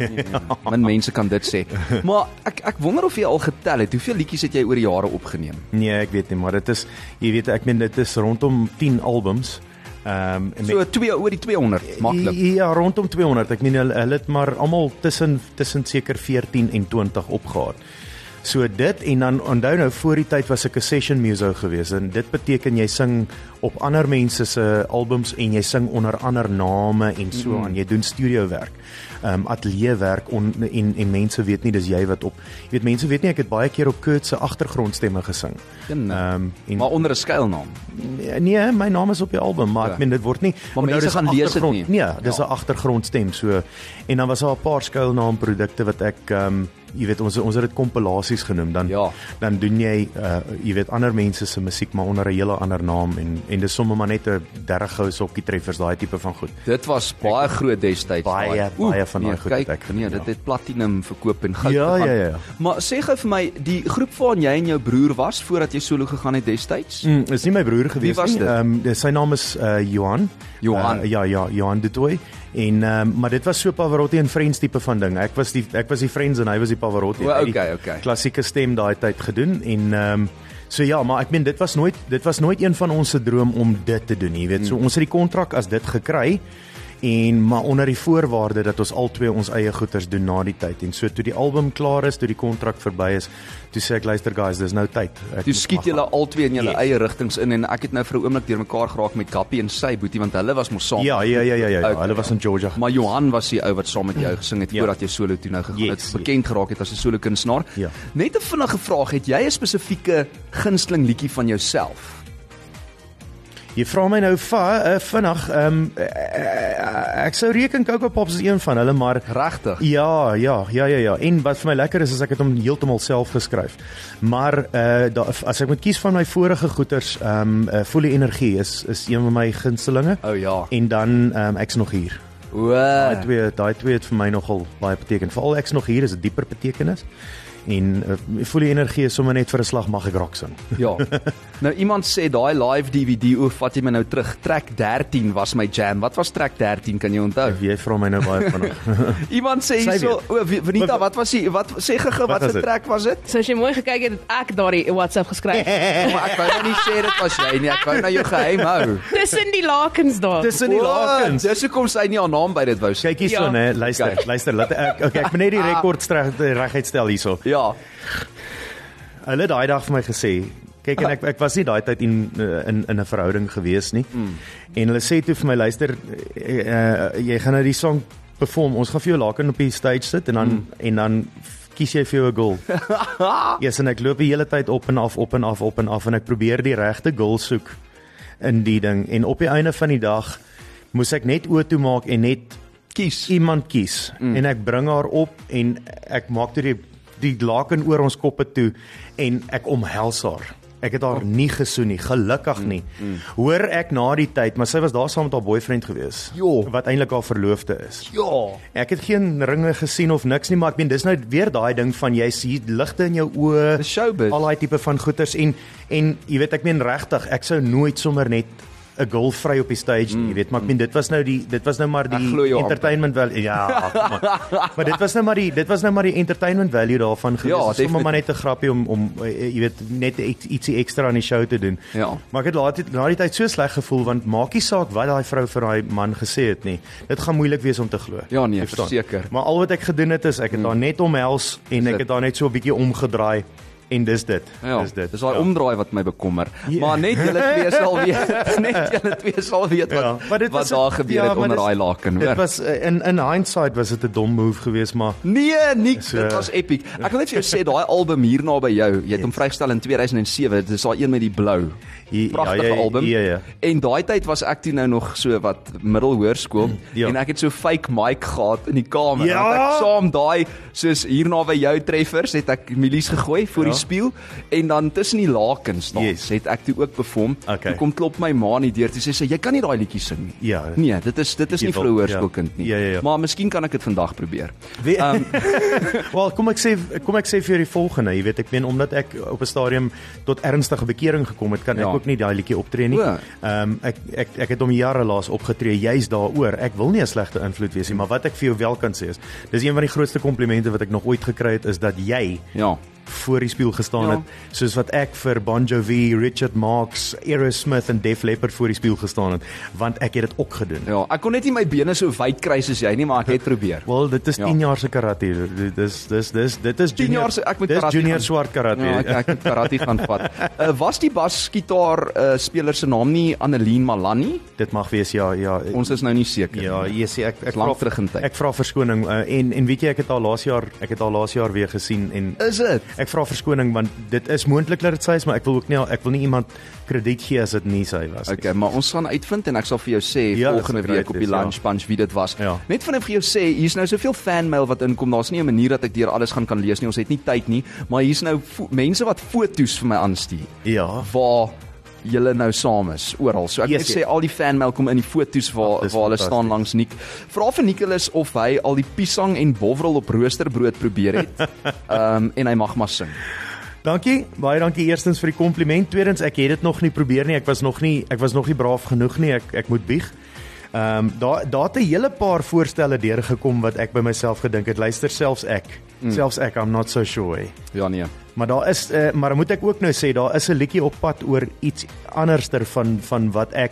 Speaker 1: Min mense kan dit
Speaker 2: (laughs)
Speaker 1: sê. Maar ek ek wonder of jy al getel het, hoeveel liedjies het jy oor die jare opgeneem?
Speaker 2: Nee, ek weet nie, maar dit is jy weet ek meen dit is rondom 10 albums. Ehm um,
Speaker 1: So 2 oor die 200 maklik.
Speaker 2: Ja, rondom 200. Ek meen hulle hulle het maar almal tussen tussen seker 14 en 20 opgehaal. So dit en dan onthou nou voor die tyd was ek 'n session muso gewees en dit beteken jy sing op ander mense se albums en jy sing onder ander name en so aan. Mm -hmm. Jy doen studiowerk. Ehm um, ateljeewerk on- en en mense weet nie dis jy wat op. Jy weet mense weet nie ek het baie keer op Kurt se agtergrondstemme gesing.
Speaker 1: Jenne.
Speaker 2: Ehm en
Speaker 1: Maar onder 'n skuilnaam.
Speaker 2: Nee, my naam is op die album, maar
Speaker 1: Ja.
Speaker 2: ek meen dit word nie.
Speaker 1: Maar mense
Speaker 2: dis 'n
Speaker 1: gaan lees dit
Speaker 2: agtergrond-
Speaker 1: nie.
Speaker 2: Nee, dis 'n
Speaker 1: Ja.
Speaker 2: agtergrondstem so. En dan was daar 'n paar skuilnaamprodukte wat ek ehm um, jy weet ons ons het dit kompilasies genoem dan
Speaker 1: Ja.
Speaker 2: dan doen jy uh, jy weet ander mense se musiek maar onder 'n hele ander naam en en dis sommer maar net 'n 30 goue sokkie treffers daai tipe van goed.
Speaker 1: Dit was baie groot destyds.
Speaker 2: Baie,
Speaker 1: daai.
Speaker 2: baie van daai
Speaker 1: nee,
Speaker 2: goed het
Speaker 1: kyk,
Speaker 2: ek gedoen,
Speaker 1: Nee,
Speaker 2: ja.
Speaker 1: dit het platinum verkoop en goud.
Speaker 2: Ja,
Speaker 1: gegaan.
Speaker 2: ja, ja.
Speaker 1: Maar sê gou vir my, die groep waarin jy en jou broer was voordat jy solo gegaan het destyds?
Speaker 2: Mm, is nie my broer gewees
Speaker 1: was
Speaker 2: nie.
Speaker 1: dit?
Speaker 2: Ehm um, sy naam is uh, Johan.
Speaker 1: Johan.
Speaker 2: Uh, ja ja, Johan de Tooy. En ehm um, maar dit was so Pavarotti en Friends tipe van ding. Ek was die ek was die Friends en hy was die Pavarotti.
Speaker 1: O,
Speaker 2: Hy het die
Speaker 1: okay, okay.
Speaker 2: Klassieke stem daai tyd gedoen en ehm um, so ja, maar ek meen dit was nooit dit was nooit een van ons se droom om dit te doen, jy weet.
Speaker 1: Mm.
Speaker 2: So ons het die kontrak as dit gekry en maar onder die voorwaarde dat ons albei ons eie goeders doen na die tyd. En so toe die album klaar is, toe die kontrak verby is, toe sê ek luister guys, dis nou tyd. Ek
Speaker 1: Toe
Speaker 2: moet maar
Speaker 1: skiet
Speaker 2: gaan."
Speaker 1: julle albei in julle
Speaker 2: Yes.
Speaker 1: yes. eie rigtings in en ek het nou vir 'n oomblik deurmekaar geraak met Gappie en sy boetie want hulle was mos saam.
Speaker 2: Ja, ja, ja, ja, ja. ja.
Speaker 1: Okay.
Speaker 2: Hulle was in Georgia.
Speaker 1: Maar Johan was die ou wat saam met jou gesing het
Speaker 2: Ja.
Speaker 1: voordat jy solo toe nou gegaan
Speaker 2: Yes,
Speaker 1: het, bekend geraak het as 'n solo kunstenaar.
Speaker 2: Ja.
Speaker 1: Net 'n vinnige vraag, het jy 'n spesifieke gunsteling liedjie van jouself?
Speaker 2: jy vra my nou va, uh, vinnig, ehm um, uh, ek sou reken Coco Pops is een van hulle, maar
Speaker 1: Regtig?
Speaker 2: Ja, ja, ja, ja, ja. En wat vir my lekker is is ek het hom heeltemal self geskryf. Maar uh da, as ek moet kies van my vorige goeters, ehm um, uh, volle energie is is een van my gunstelinge.
Speaker 1: O ja.
Speaker 2: En dan ehm um, ek's nog hier.
Speaker 1: O.
Speaker 2: Daai twee, daai twee het vir my nogal baie beteken. Veral ek's nog hier is 'n dieper betekenis. En uh, volle energie is sommer net vir 'n slag mag ek raak sing.
Speaker 1: Ja. Nou iemand sê daai live DVD o, vat jy my nou terug. Track 13 was my jam. Wat was track 13? Kan jy onthou?
Speaker 2: Jy vra my nou baie vinnig.
Speaker 1: Iemand sê
Speaker 2: Sy
Speaker 1: hierso,
Speaker 2: weet.
Speaker 1: o, Venita,
Speaker 2: Wat-
Speaker 1: wat was die wat sê gege
Speaker 2: Wat
Speaker 1: wat
Speaker 2: was
Speaker 1: se
Speaker 2: dit?
Speaker 1: track was dit?
Speaker 6: So as jy mooi gekyk het, het ek daardie WhatsApp
Speaker 2: (laughs)
Speaker 6: geskryf.
Speaker 1: Maar ek wou nou nie sê dit was jy nie. Ek wou nou jou geheim hou.
Speaker 6: Tussen die lakens daar.
Speaker 2: Tussen die
Speaker 1: O,
Speaker 2: lakens.
Speaker 1: Dis hoekom sy nie haar naam by dit wou sê.
Speaker 2: Kyk hierson
Speaker 6: Ja.
Speaker 2: hè, luister,
Speaker 1: Kyk.
Speaker 2: luister. Laat ek okay, ek moet net die rekord streg- reguit stel hierso.
Speaker 1: Ja.
Speaker 2: Hulle het daai dag vir my gesê, kyk en ek ek was nie daai tyd in eh, in in 'n verhouding gewees nie. Mm. En hulle sê toe vir my, luister, uh, jy gaan nou die song perform. Ons gaan vir jou laken op die stage sit en dan mm. en dan f- kies jy vir jou 'n goal. Ja, yes, en ek loop die hele tyd op en af, op en af, op en af en ek probeer die regte goal soek in die ding en op die einde van die dag moes ek net oë toe maak en net
Speaker 1: Kies.
Speaker 2: iemand kies mm. en ek bring haar op en ek maak toe die die laken oor ons koppe toe en ek omhels haar. Ek het haar nie gesoen nie, gelukkig nie. Oh. Mm, mm. Hoor ek na die tyd, maar sy was daar saam met haar boyfriend gewees
Speaker 1: Jo.
Speaker 2: wat eintlik haar verloofde is.
Speaker 1: Ja.
Speaker 2: Ek het geen ringe gesien of niks nie, maar ek meen dis nou weer daai ding van jy sien ligte in jou oë,
Speaker 1: Dis showbiz.
Speaker 2: al daai tipe van goeters en en jy weet ek meen regtig, ek sou nooit sommer net 'n goal vry op die stage nie, jy weet, maar ek meen dit was nou die dit was nou maar
Speaker 1: Mm, Ek
Speaker 2: die
Speaker 1: glo jou amper.
Speaker 2: entertainment value. Ja, maar, maar dit was nou maar die dit was nou maar die entertainment value daarvan gewees.
Speaker 1: Ja,
Speaker 2: Ja,
Speaker 1: definitief.
Speaker 2: sommer maar net 'n grappie om om eh, eh, jy weet net iets- ietsie ekstra aan die show te doen.
Speaker 1: Ja.
Speaker 2: Maar ek het laat na die tyd so sleg gevoel want maak nie saak wat daai vrou vir daai man gesê het nie. Dit gaan moeilik wees om te glo.
Speaker 1: Ja, nee,
Speaker 2: Jy verstaan.
Speaker 1: verseker. Hmm.
Speaker 2: Maar al wat ek gedoen het is ek het haar net omhels en ek het haar net so 'n bietjie omgedraai en dis dit.
Speaker 1: Ja,
Speaker 2: dis dit.
Speaker 1: Dis daai omdraai wat my bekommer.
Speaker 2: Ja.
Speaker 1: Maar net julle twee sal
Speaker 2: (laughs)
Speaker 1: weet, net julle twee sal weet wat
Speaker 2: Ja. maar dit
Speaker 1: wat
Speaker 2: was-
Speaker 1: daar gebeur
Speaker 2: ja,
Speaker 1: het
Speaker 2: maar
Speaker 1: onder
Speaker 2: dis-
Speaker 1: daai laken,
Speaker 2: Dit
Speaker 1: hoor.
Speaker 2: was eh, in in hindsight was dit 'n dom move geweest, maar
Speaker 1: Nee, Nick,
Speaker 2: So-
Speaker 1: dit was epic. Ek wil net vir jou
Speaker 2: (laughs)
Speaker 1: sê daai album hier naby jou, jy het hom vrygestel in 2007. Dit is daai een met die blou.
Speaker 2: Ja,
Speaker 1: Pragtige
Speaker 2: ja, ja,
Speaker 1: album.
Speaker 2: ja, ja.
Speaker 1: En daai tyd was ek toe nou nog so wat middelhoërskool
Speaker 2: (clears throat) Ja.
Speaker 1: en ek het so fake mic gehad in die kamer.
Speaker 2: Ja.
Speaker 1: Dan het Ek saam daai soos hier naby jou treffers het ek milies gegooi voor
Speaker 2: Ja.
Speaker 1: die spieël en dan tussen die lakens dan
Speaker 2: Yes.
Speaker 1: het ek toe ook perform.
Speaker 2: Okay.
Speaker 1: Toe kom klop my ma nie deur toe sê sy jy kan nie daai liedjie sing nie.
Speaker 2: Ja.
Speaker 1: Nee, dit is dit is nie
Speaker 2: Jy wil-
Speaker 1: vir 'n
Speaker 2: ja.
Speaker 1: hoërskoolkind nie.
Speaker 2: Ja, ja, ja.
Speaker 1: Maar miskien kan ek dit vandag probeer. Ehm,
Speaker 2: Wie, um, (laughs) wel, kom ek sê kom ek sê vir die volgende, jy weet ek meen omdat ek op 'n stadium tot ernstige bekering gekom het, kan ja.
Speaker 1: Ja.
Speaker 2: ek ook nie daai liedjie optree nie.
Speaker 1: O.
Speaker 2: Ehm um, ek ek ek het hom jare laas opgetree juis daaroor. Ek wil nie 'n slegte invloed wees nie, maar wat ek vir jou wel kan sê is, dis een van die grootste komplimente wat ek nog ooit gekry het is dat jy
Speaker 1: (laughs) Ja.
Speaker 2: voor die spieël gestaan
Speaker 1: Ja.
Speaker 2: ja. het soos wat ek vir Bon Jovi, Richard Marx, Aerosmith en Def Leppard voor die spieël gestaan het, want ek het dit ook gedoen.
Speaker 1: Ja, ek kon net nie my bene so wyd kry soos jy nie, maar ek het probeer.
Speaker 2: Wel, dit is
Speaker 1: Ja.
Speaker 2: 10 jaar se karate. Dit is dis dis dit is
Speaker 1: 10
Speaker 2: junior.
Speaker 1: jaar se ek met
Speaker 2: dis
Speaker 1: karate.
Speaker 2: junior
Speaker 1: gaan-
Speaker 2: swart karate.
Speaker 1: Ja, ek ek het karate gaan
Speaker 2: (laughs)
Speaker 1: vat. Uh, was die basgitaar uh, speler se naam nie Annelien Malan nie?
Speaker 2: Dit mag wees ja, ja.
Speaker 1: Ons is nou nie seker.
Speaker 2: ja, jy sê ek ek
Speaker 1: Dis lank terug in tyd.
Speaker 2: Ek vra verskoning uh, en en weet jy ek het haar laas jaar ek het haar laas jaar weer gesien en
Speaker 1: Is dit?
Speaker 2: ek vra verskoning want dit is moontlik dat dit sy is, maar ek wil ook nie ek wil nie iemand krediet gee as dit nie sy was nie.
Speaker 1: Okay, maar ons gaan uitvind en ek sal vir jou sê ja,
Speaker 2: Ja,
Speaker 1: volgende
Speaker 2: dit sal
Speaker 1: week op die
Speaker 2: wees, ja.
Speaker 1: lunch punch wie dit was.
Speaker 2: Ja.
Speaker 1: Net vinnig vir jou sê, hier's nou soveel fanmail wat inkom, daar's nie 'n manier dat ek deur alles gaan kan lees nie. Ons het nie tyd nie, maar hier's nou fo- mense wat foto's vir my aanstuur.
Speaker 2: Ja.
Speaker 1: waar julle nou saam is oral. So ek yes,
Speaker 2: Yes,
Speaker 1: sê
Speaker 2: yes.
Speaker 1: al die fanmail kom in die fotos waar
Speaker 2: Ag, dis
Speaker 1: waar hulle
Speaker 2: fantasties.
Speaker 1: staan langs Nick. Vra vir Nicholas of hy al die piesang en bovrol op roosterbrood probeer het.
Speaker 2: (laughs)
Speaker 1: Ehm um, en hy mag maar sing.
Speaker 2: Dankie. Baie dankie eerstens vir die kompliment. Tweedens, ek het dit nog nie probeer nie. Ek was nog nie ek was nog nie braaf genoeg nie. Ek ek moet bieg. Ehm um, daar daar het 'n hele paar voorstelle deurgekom wat ek by myself gedink het. Luister selfs ek. Mm. Selfs ek I'm not so sure.
Speaker 1: Ja nee.
Speaker 2: Maar daar is uh, maar moet ek ook nou sê daar is 'n liedjie op pad oor iets anderster van van wat ek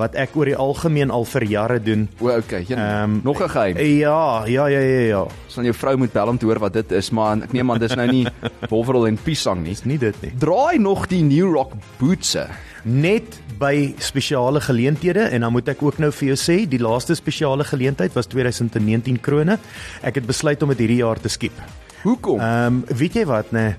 Speaker 2: wat ek oor die algemeen al vir jare doen.
Speaker 1: O, okay. Een, um,
Speaker 2: Ehm,
Speaker 1: nog 'n geheim.
Speaker 2: Ja, ja ja ja ja.
Speaker 1: Sal jou vrou moet bel om te hoor wat dit is, maar ek neem aan dis nou
Speaker 2: (laughs)
Speaker 1: nie bovrol en piesang nie.
Speaker 2: Nie dit nie.
Speaker 1: Draai nog die New Rock bootse.
Speaker 2: net by spesiale geleenthede en dan moet ek ook nou vir jou sê die laaste spesiale geleentheid was 2019 krone. Ek het besluit om dit hierdie jaar te skiep.
Speaker 1: Hoekom? Uh,
Speaker 2: Ehm um, weet jy wat nê?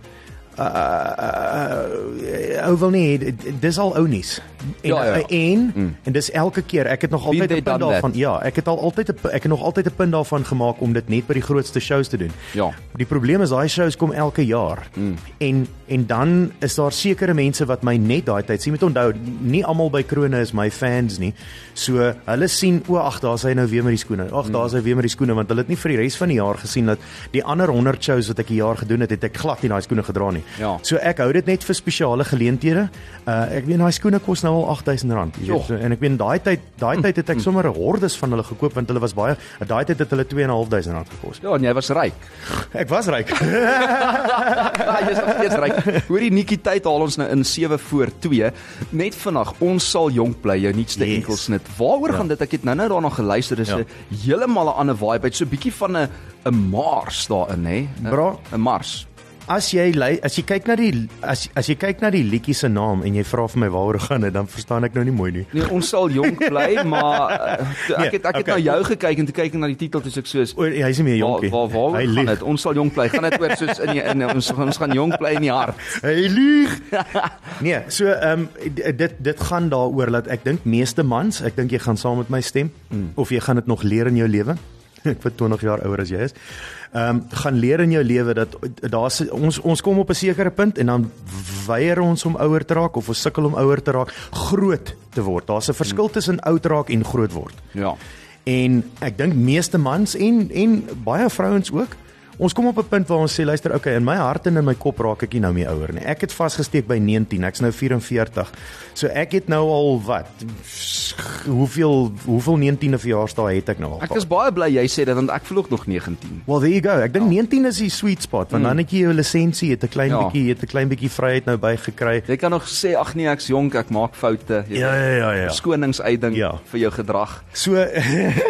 Speaker 2: Uh, uh, ou wil nie hê- d- dis al ou nuus. En
Speaker 1: Ja, ja.
Speaker 2: en, mm. en dis elke keer ek het nog
Speaker 1: Been
Speaker 2: altyd
Speaker 1: there,
Speaker 2: 'n punt
Speaker 1: done that.
Speaker 2: daarvan. Ja, ek het al altyd 'n pu- ek het nog altyd 'n punt daarvan gemaak om dit net by die grootste shows te doen.
Speaker 1: Ja.
Speaker 2: Die probleem is daai shows kom elke jaar. Mm. En en dan is daar sekere mense wat my net daai tyd sien. Jy moet onthou, nie almal by Krone is my fans nie. So hulle sien o, ag, daar's hy nou weer met die skoene. Ag, daar's hy weer met die skoene want hulle het nie vir die res van die jaar gesien dat die ander 100 shows wat ek die jaar gedoen het, het ek glad nie daai skoene gedra nie.
Speaker 1: Ja.
Speaker 2: So ek hou dit net vir spesiale geleenthede. Uh ek weet daai skoene kos nou al R8000, jy
Speaker 1: Joh.
Speaker 2: weet. So, en ek weet daai tyd, daai tyd het ek sommer 'n hordes van hulle gekoop want hulle was baie daai tyd het hulle R2500 gekos.
Speaker 1: ja, en jy was ryk.
Speaker 2: Ek was (laughs) ryk.
Speaker 1: Ja, jy's nog steeds reg. Hoor die Nikkie tyd haal ons nou in 7 voor 2. Net vandag, ons sal jonk bly, jou nuutste yes.
Speaker 2: Yes.
Speaker 1: enkelsnit. Waaroor ja. gaan dit? Ek het nou-nou daarna geluister. Dis
Speaker 2: Ja.
Speaker 1: 'n ja. heeltemal 'n ander vibe. Dit's so 'n bietjie van 'n 'n Mars daarin, hè? 'n-
Speaker 2: Bra.
Speaker 1: 'n Mars.
Speaker 2: As jy lui- as jy kyk na die as as jy kyk na die liedjie se naam en jy vra vir my waaroor gaan dit, dan verstaan ek nou nie mooi nie.
Speaker 1: Nee, ons sal jonk bly, maar eh, toe,
Speaker 2: Nee,
Speaker 1: ek het ek het
Speaker 2: okay.
Speaker 1: okay. na jou gekyk en toe kyk ek na die titel toe sê ek soos
Speaker 2: O, hy's nie meer
Speaker 1: Waar
Speaker 2: jonkie.
Speaker 1: waar waar
Speaker 2: hy
Speaker 1: gaan
Speaker 2: lieg.
Speaker 1: dit? Ons sal jonk bly. Gaan dit oor soos in die, in ons ons gaan jonk bly in die hart.
Speaker 2: Hy
Speaker 1: (laughs)
Speaker 2: lieg. nee, so ehm um, dit dit gaan daaroor dat ek dink meeste mans, ek dink jy gaan saam met my stem mm.
Speaker 1: Hmm.
Speaker 2: of jy gaan dit nog leer in jou lewe. (laughs) ek word 20 jaar ouer as jy is. Ehm um, gaan leer in jou lewe dat daar's ons ons kom op 'n sekere punt en dan weier ons om ouer te raak of ons sukkel om ouer te raak, groot te word. Daar's 'n verskil
Speaker 1: Hmm.
Speaker 2: tussen oud raak en groot word.
Speaker 1: Ja.
Speaker 2: En ek dink meeste mans en en baie vrouens ook Ons kom op 'n punt waar ons sê luister, okay, in my hart en in my kop raak ek nie nou meer ouer nie. Ek het vasgesteek by 19, ek's nou 44. So ek het nou al wat g- hoeveel hoeveel 19e verjaarsdae het ek nou al?
Speaker 1: Ek is baie bly jy sê dit want ek vloek nog 19.
Speaker 2: Well there you go. Ek dink 19 is die sweet spot want dan het jy jou lisensie, jy het 'n klein
Speaker 1: Ja.
Speaker 2: bietjie, jy het 'n klein bietjie vryheid nou by gekry.
Speaker 1: Jy kan nog sê ag nee, ek's jonk, ek maak foute. jy
Speaker 2: Ja
Speaker 1: weet.
Speaker 2: ja ja ja.
Speaker 1: Skonings uitdink
Speaker 2: Ja.
Speaker 1: vir jou gedrag.
Speaker 2: So (laughs)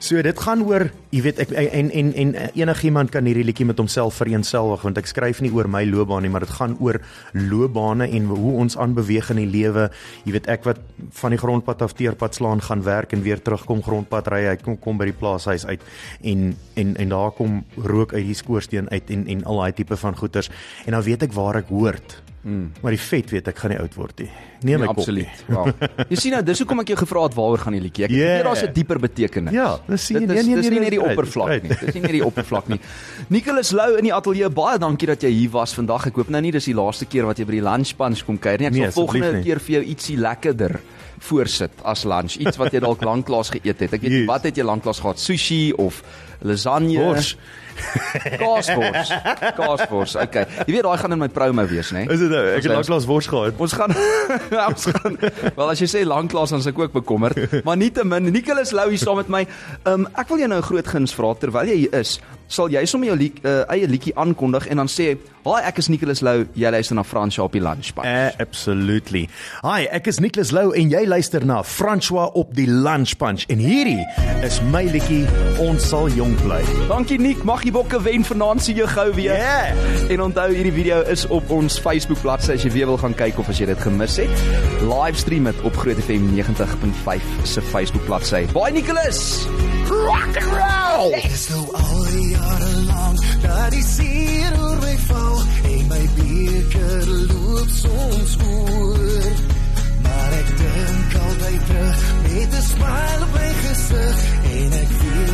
Speaker 2: so dit gaan oor, jy weet ek en en en eh, enigiemand kan hierdie liedjie met homself vereenselwig want ek skryf nie oor my loopbaan nie, maar dit gaan oor loopbane en hoe ons aanbeweeg in die lewe. Jy weet ek wat van die grondpad af teerpad slaan gaan werk en weer terugkom grondpad ry, hy kom kom by die plaashuis uit en en en daar kom rook uit die skoorsteen uit en en al daai tipe van goeters en dan weet ek waar ek hoort. Mm. Maar die vet weet ek gaan nie oud word nie. Nee my
Speaker 1: Nee,
Speaker 2: kop. nie.
Speaker 1: absoluut. Ja.
Speaker 2: (laughs)
Speaker 1: Jy sien nou, dis hoekom ek jou gevra het waaroor gaan die liedjie. Ek
Speaker 2: Yeah.
Speaker 1: weet daar's 'n dieper betekenis.
Speaker 2: Ja, dis sien jy,
Speaker 1: Dit is
Speaker 2: nee, nee,
Speaker 1: dis nie
Speaker 2: nee,
Speaker 1: net die
Speaker 2: dis uit, dis
Speaker 1: oppervlak
Speaker 2: uit.
Speaker 1: nie. Dis nie net die oppervlak nie. Nicholas Lou in die ateljee, baie dankie dat jy hier was vandag. Ek hoop nou nie dis die laaste keer wat jy by die lunch punch kom kuier nie. Ek sal
Speaker 2: Nee,
Speaker 1: nee, volgende
Speaker 2: asseblief nie.
Speaker 1: keer vir jou ietsie lekkerder voorsit as lunch, iets wat jy dalk lanklaas geëet het. Ek weet nie
Speaker 2: Yes.
Speaker 1: wat het jy lanklaas gehad? Sushi of lasagne?
Speaker 2: Bors.
Speaker 1: Kaasbors. Kaasbors. Okay. Jy weet daai gaan in my promo wees, né?
Speaker 2: Is dit nou? Ek
Speaker 1: Ons
Speaker 2: het
Speaker 1: lei
Speaker 2: lank lank wors gehad.
Speaker 1: Ons gaan (laughs) Ja, ons gaan wel as jy sê lanklaas dan is ek ook bekommerd, maar nietemin Nicholas Lou hier saam met my. Um, ek wil jou nou 'n groot guns vra terwyl jy hier is. Sal jy sommer jou lied, uh, eie liedjie aankondig en dan sê, "Haai, ek is Nicholas Lou, jy luister na Fransja op die lunchpak." Uh,
Speaker 2: Uh, absolutely. Hi, ek is Nicholas Lou en jy luister na François op die Lunch Punch en hierdie is my liedjie Ons sal jong bly.
Speaker 1: Dankie Nick, mag jy bokke wen vanaand sien jou gou weer.
Speaker 2: Yeah.
Speaker 1: En onthou hierdie video is op ons Facebook bladsy as jy weer wil gaan kyk of as jy dit gemis het. Livestream dit op Groot FM 90.5 se Facebook bladsy. Baie Nicholas. Rock and roll. Yes.
Speaker 4: Dis nou al die jare lank dat die seer oor my val en my beker loop soms oor. Maar ek dink altyd terug met 'n smile op my gesig en ek weet nou